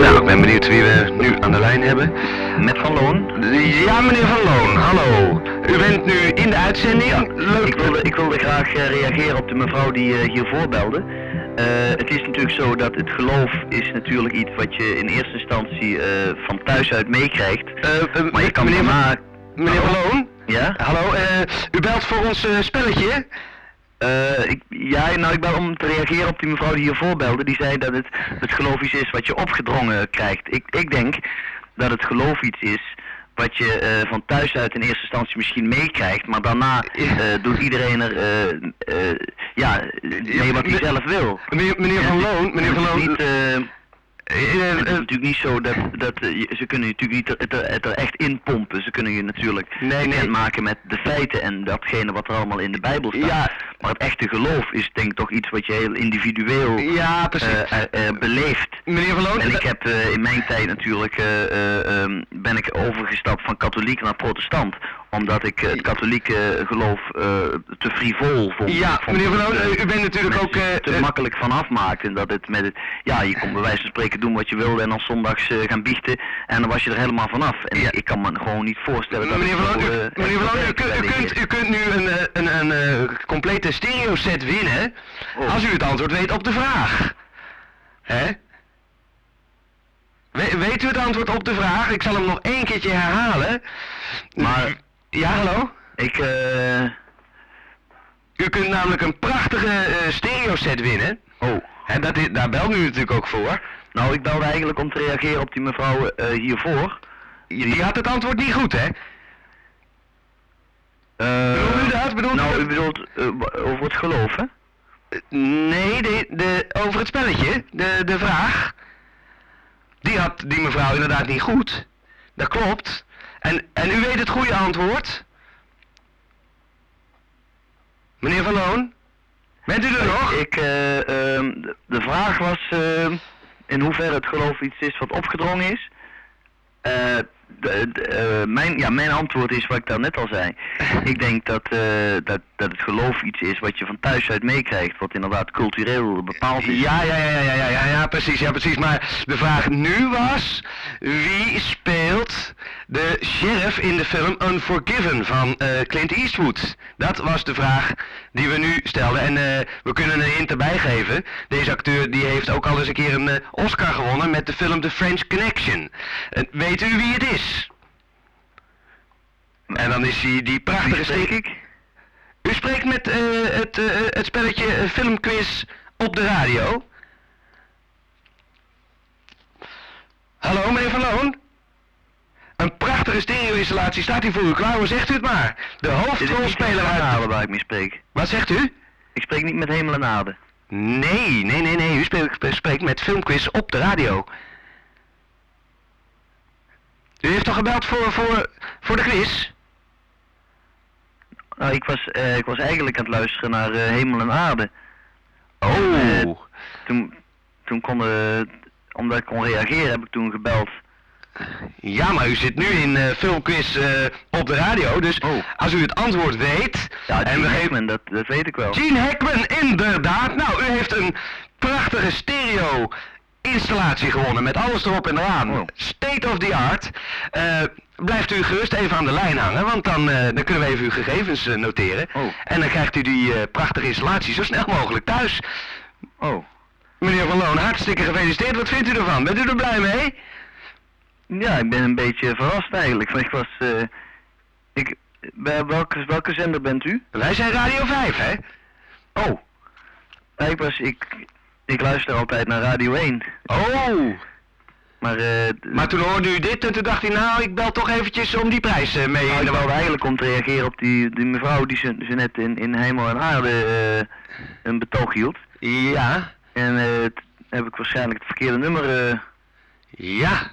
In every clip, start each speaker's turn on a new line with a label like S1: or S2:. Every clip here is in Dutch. S1: Nou, benieuwd wie we nu aan de lijn hebben.
S2: Met Van Loon?
S1: Ja, meneer Van Loon, hallo. U bent nu in de uitzending.
S2: Ik
S1: Leuk.
S2: wilde, ik wilde graag eh, reageren op de mevrouw die eh, hiervoor belde. Eh, het is natuurlijk zo dat het geloof is natuurlijk iets wat je in eerste instantie eh, van thuis uit meekrijgt.
S1: Eh, eh,
S2: Maar je kan
S1: meneer,
S2: daarna...
S1: meneer Van Loon,
S2: Ja?
S1: hallo. eh, u belt voor ons eh, spelletje. hè?
S2: Eh, ik, ja, nou ik bel om te reageren op die mevrouw die hiervoor belde. Die zei dat het, het geloof iets is wat je opgedrongen krijgt. Ik, ik denk dat het geloof iets is wat je eh, van thuis uit in eerste instantie misschien meekrijgt. Maar daarna eh, doet iedereen er eh, eh, ja, mee wat hij
S1: me-
S2: zelf wil.
S1: Meneer, meneer Van Loon, meneer Van
S2: Het is
S1: Loon.
S2: niet,
S1: eh,
S2: eh,
S1: eh,
S2: het is
S1: eh,
S2: natuurlijk niet zo dat, dat eh, je- ze kunnen je natuurlijk niet het er, het er echt in pompen. Ze kunnen je natuurlijk
S1: Nee, nee.
S2: maken met de feiten en datgene wat er allemaal in de Bijbel staat.
S1: Ja,
S2: Maar het echte geloof is denk ik toch iets wat je heel individueel
S1: ja, precies.
S2: eh, eh, eh, beleeft.
S1: meneer Van Loon,
S2: En
S1: eh,
S2: ik heb eh, in mijn tijd natuurlijk, eh, eh, ehm, ben ik overgestapt van katholiek naar protestant. Omdat ik eh, het katholieke geloof eh, te frivol vond.
S1: ja,
S2: Ik vond
S1: meneer Van
S2: het,
S1: Loon,
S2: eh,
S1: eh, u bent natuurlijk ook...
S2: mensen
S1: eh,
S2: te
S1: eh,
S2: makkelijk van afmaakt. En dat het met het, ja, je kon bij wijze van spreken doen wat je wilde en dan zondags eh, gaan biechten. En dan was je er helemaal vanaf. En
S1: Ja.
S2: ik, ik kan me gewoon niet voorstellen dat
S1: Meneer
S2: het
S1: Van Loon,
S2: zo,
S1: u,
S2: eh,
S1: meneer Van Loon, u, kunt- u,
S2: werkt.
S1: kunt, u kunt nu een, eh, een, een, eh, complete stereo set winnen
S2: Oh.
S1: als u het antwoord weet op de vraag. Hè? We- weet u het antwoord op de vraag? Ik zal hem nog één keertje herhalen.
S2: Maar-
S1: Ja, hallo?
S2: Ik, eh...
S1: U kunt namelijk een prachtige eh, stereo set winnen.
S2: oh.
S1: En dat is, daar belt u natuurlijk ook voor.
S2: Nou, ik belde eigenlijk om te reageren op die mevrouw eh, hiervoor.
S1: Die had het antwoord niet goed, hè?
S2: Eh,
S1: Bedoelt u dat? Bedoelt u
S2: nou,
S1: dat?
S2: u bedoelt eh, wa- over het geloof, hè?
S1: Nee, de, de, over het spelletje, de, de vraag. Die had die mevrouw inderdaad niet goed. Dat klopt. En, en u weet het goede antwoord? Meneer Van Loon? Bent u er nog?
S2: Ik, eh, ehm, de- de vraag was ehm, in hoeverre het geloof iets is wat opgedrongen is. Eh, de- de- eh, mijn, ja, mijn antwoord is wat ik daarnet al zei. Ik denk dat, eh, dat, dat het geloof iets is wat je van thuis uit meekrijgt, wat inderdaad cultureel bepaald is.
S1: Ja, ja, ja, ja, ja, ja, ja, ja, precies, ja, precies. Maar de vraag nu was, wie speelt de sheriff in de film Unforgiven van eh, Clint Eastwood? Dat was de vraag die we nu stelden en eh, we kunnen een hint erbij geven. Deze acteur die heeft ook al eens een keer een eh, Oscar gewonnen met de film The French Connection. En weet u wie het is? En dan is hij die prachtige
S2: Wie spreek
S1: steek. U spreekt met eh, het, eh, het spelletje eh, Filmquiz op de radio. Hallo, meneer Van Loon. Een prachtige stereo-installatie staat hier voor u klaar. Hoe zegt u het maar? De
S2: Is het niet
S1: hoofdrolspeler
S2: hemel
S1: uit...
S2: en aarde waar ik mee spreek?
S1: Wat zegt u?
S2: Ik spreek niet met hemel en aarde.
S1: Nee, nee, nee, nee. U spreekt, spreekt met Filmquiz op de radio. U heeft toch gebeld voor, voor, voor de quiz?
S2: Nou, ik was, eh, ik was eigenlijk aan het luisteren naar eh, Hemel en Aarde.
S1: Oh.
S2: Eh, toen, toen kon, eh, omdat ik kon reageren, heb ik toen gebeld.
S1: Ja, maar u zit nu in eh filmquiz eh, op de radio, dus
S2: Oh.
S1: als u het antwoord weet...
S2: Ja,
S1: en
S2: Gene
S1: we geven...
S2: Hackman, dat, dat weet ik wel.
S1: Gene Hackman, inderdaad! Nou, u heeft een prachtige stereo installatie gewonnen met alles erop en eraan.
S2: Oh.
S1: State of the art. Eh, blijft u gerust even aan de lijn hangen, want dan, eh, dan kunnen we even uw gegevens eh, noteren.
S2: Oh.
S1: En dan krijgt u die eh, prachtige installatie zo snel mogelijk thuis.
S2: Oh.
S1: Meneer Van Loon, hartstikke gefeliciteerd. Wat vindt u ervan? Bent u er blij mee?
S2: Ja, ik ben een beetje verrast eigenlijk. want Ik was... eh, ik, bij welke, welke zender bent u?
S1: Wij zijn Radio 5, hè?
S2: Oh. ik was... Ik, ik luister altijd naar Radio 1.
S1: Oh!
S2: Maar, eh,
S1: Maar toen hoorde u dit en toen dacht hij, nou, ik bel toch eventjes om die prijs eh, mee.
S2: Nou,
S1: in
S2: ik
S1: de
S2: wilde
S1: wa-
S2: eigenlijk om te reageren op die, die mevrouw die ze, ze net in, in Hemel en Aarde eh, een betoog hield.
S1: Ja,
S2: En eh, t- heb ik waarschijnlijk het verkeerde nummer eh,
S1: ja,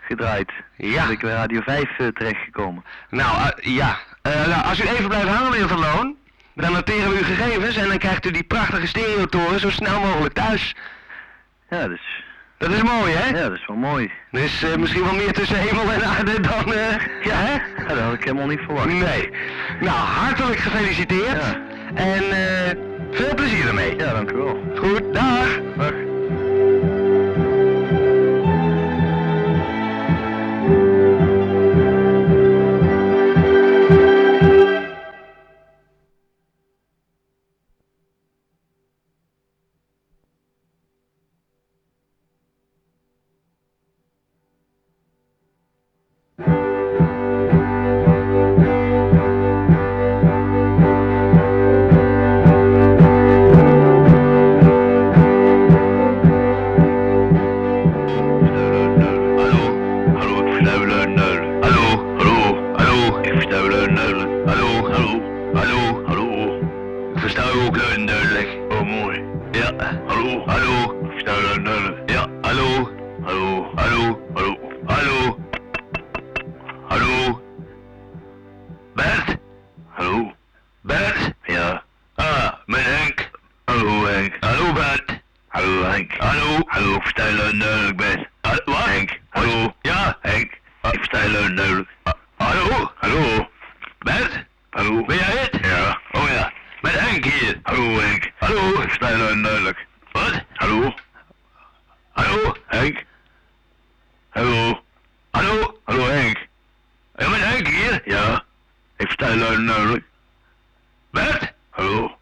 S2: gedraaid.
S1: ja.
S2: Ben ik bij Radio 5 eh, terechtgekomen.
S1: Nou, eh, ja. Eh, nou, als u even blijft hangen, meneer Van Loon, dan noteren we uw gegevens en dan krijgt u die prachtige stereotoren zo snel mogelijk thuis.
S2: Ja, dus,
S1: Dat is mooi, hè?
S2: ja, dat is wel mooi.
S1: Er is eh, misschien wel meer tussen hemel en aarde dan... eh, ja, hè?
S2: Ja, dat had ik helemaal niet verwacht.
S1: Nee. Nou, hartelijk gefeliciteerd.
S2: Ja.
S1: En eh, veel plezier ermee.
S2: Ja, dank u wel.
S1: Goed, dag.
S2: Dag.
S1: een nul. Hallo, hallo, hallo. Ik versta wel een nul. Hallo, hallo, hallo, hallo. Ik versta u ook een nul. Oh, mooi. Ja, hallo, hallo. Ik versta wel een nul. Ja, hallo, hallo, hallo, hallo, hallo. Hallo. Bert? Hallo. Bert? Ja. Ah, mijn Henk. Hallo Henk. Hallo Bert. Hallo Henk. Hallo. Hallo, ik versta je leuk duidelijk Bert. Ah, wat? Henk. Hallo. Ja. Henk. Ik versta je leuk duidelijk. hallo. Hallo. Bert? Hallo. Ben jij het? Ja. Oh ja. Met Henk hier. Hallo Henk. Hallo. Ik versta je leuk duidelijk. Wat? Hallo. Hallo. Henk. Hallo. Hallo. Hallo Henk. Ja, met Henk hier? Ja. Ik versta je luid en duidelijk. Bert? Hallo.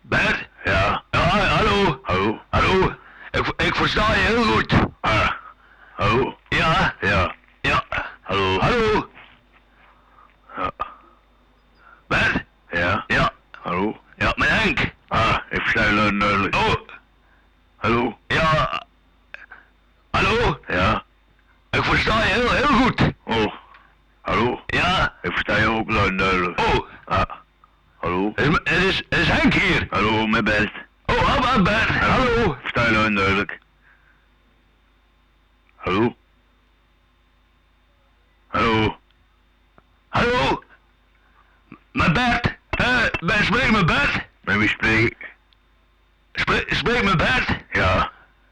S1: Bert? Ah, Ja. Ja, hallo. Hallo. Hallo. Ik, ik versta je heel goed. Ah. Hallo. Ja. Ja. Ja. Hallo. Hallo. Ja. Bert? Ja. Ja. Hallo. Ja, met Henk. Ah, ik versta je luid en duidelijk. Oh. Hallo. Ja. Hallo. Ja. Ik versta je heel, heel goed. Oh. Hallo? Ja? Ik versta je ook luid en duidelijk. Oh. Ah. Hallo? Het is, het is, het is Henk hier. Hallo, mijn Bert. Oh, hallo Bert. Hallo. Versta je luid en duidelijk. Hallo? Hallo? Hallo? Mijn Bert. Eh, ben spreek met Bert? Met wie spreek ik? Spreek, spreek met Bert? Ja.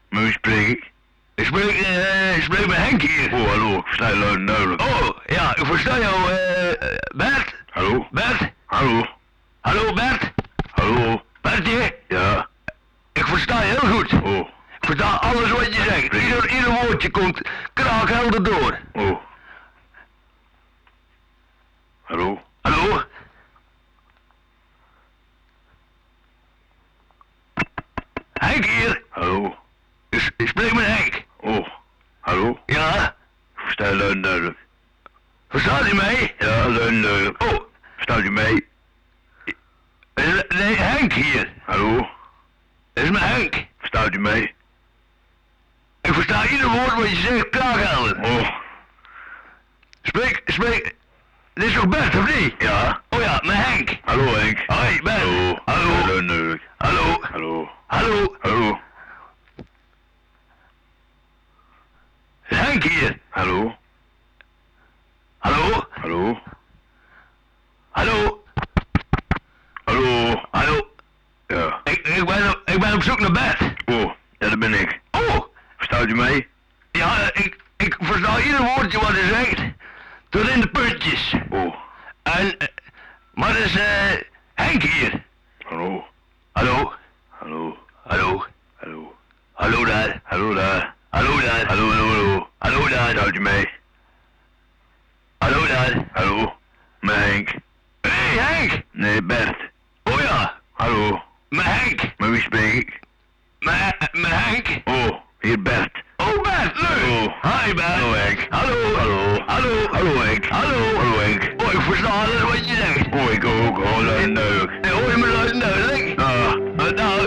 S1: Met wie spreek ik? Ik spreek, eh, ik spreek met Henk hier. Oh, hallo, ik versta je luid en duidelijk. Oh, ja, ik versta jou, eh, Bert. Hallo. Bert. Hallo. Hallo, Bert. Hallo. Bertje. Ja. Ik versta je heel goed. Oh. Ik versta alles wat je zegt. Ieder, ieder woordje komt kraakhelder door. Oh. Hallo. Hallo. Henk hier. Hallo. Ik, ik spreek met Henk. Oh, hallo? Ja? Versta je luid en duidelijk. Verstaat u mij? Ja, luid en duidelijk. Oh. Verstaat u mij? Nee, Henk hier. Hallo? Dit is mijn Henk. Verstaat u mij? Ik versta ieder woord wat je zegt, klaargelder. Oh. Spreek, spreek. Dit is toch Bert, of niet? Ja. Oh ja, mijn Henk. Hallo Henk. Hoi, Bert. Hallo. Hallo. Hallo. Hallo. Hallo. Hallo. Hallo. Henk hier. Hallo. Hallo. Hallo. Hallo. Hallo. Hallo. Ja. Ik, ik, ben, op, ik ben op zoek naar bed. Oh, ja, dat ben ik. Oh. Verstaat u mij? Ja, eh, ik, ik versta ieder woordje wat u zegt. Tot in de puntjes. Oh. En, eh, maar dat is eh, Henk hier. Hallo. Hallo. Hallo. Hallo. Hallo. Hallo daar. Hallo daar. Hallo daar. Hallo, hallo, hallo. Hallo daar. Houdt u mee? Hallo daar. Hallo. Mijn Henk. Hé, hey, Henk. Nee, Bert. Oh ja. Hallo. Mijn Henk. Met wie spreek ik? Mijn eh, mijn Henk. Oh, hier Bert. Oh, Bert, leuk. Hi, Bert. Oh. Hallo, Henk. Hallo. Hallo. Hallo. Hallo, Henk. Hallo. Hallo, Henk. Oh, ik versta alles wat je zegt. Oh, ik ook. Hallo, leuk. En hoor je me leuk, leuk? Ah. Nou,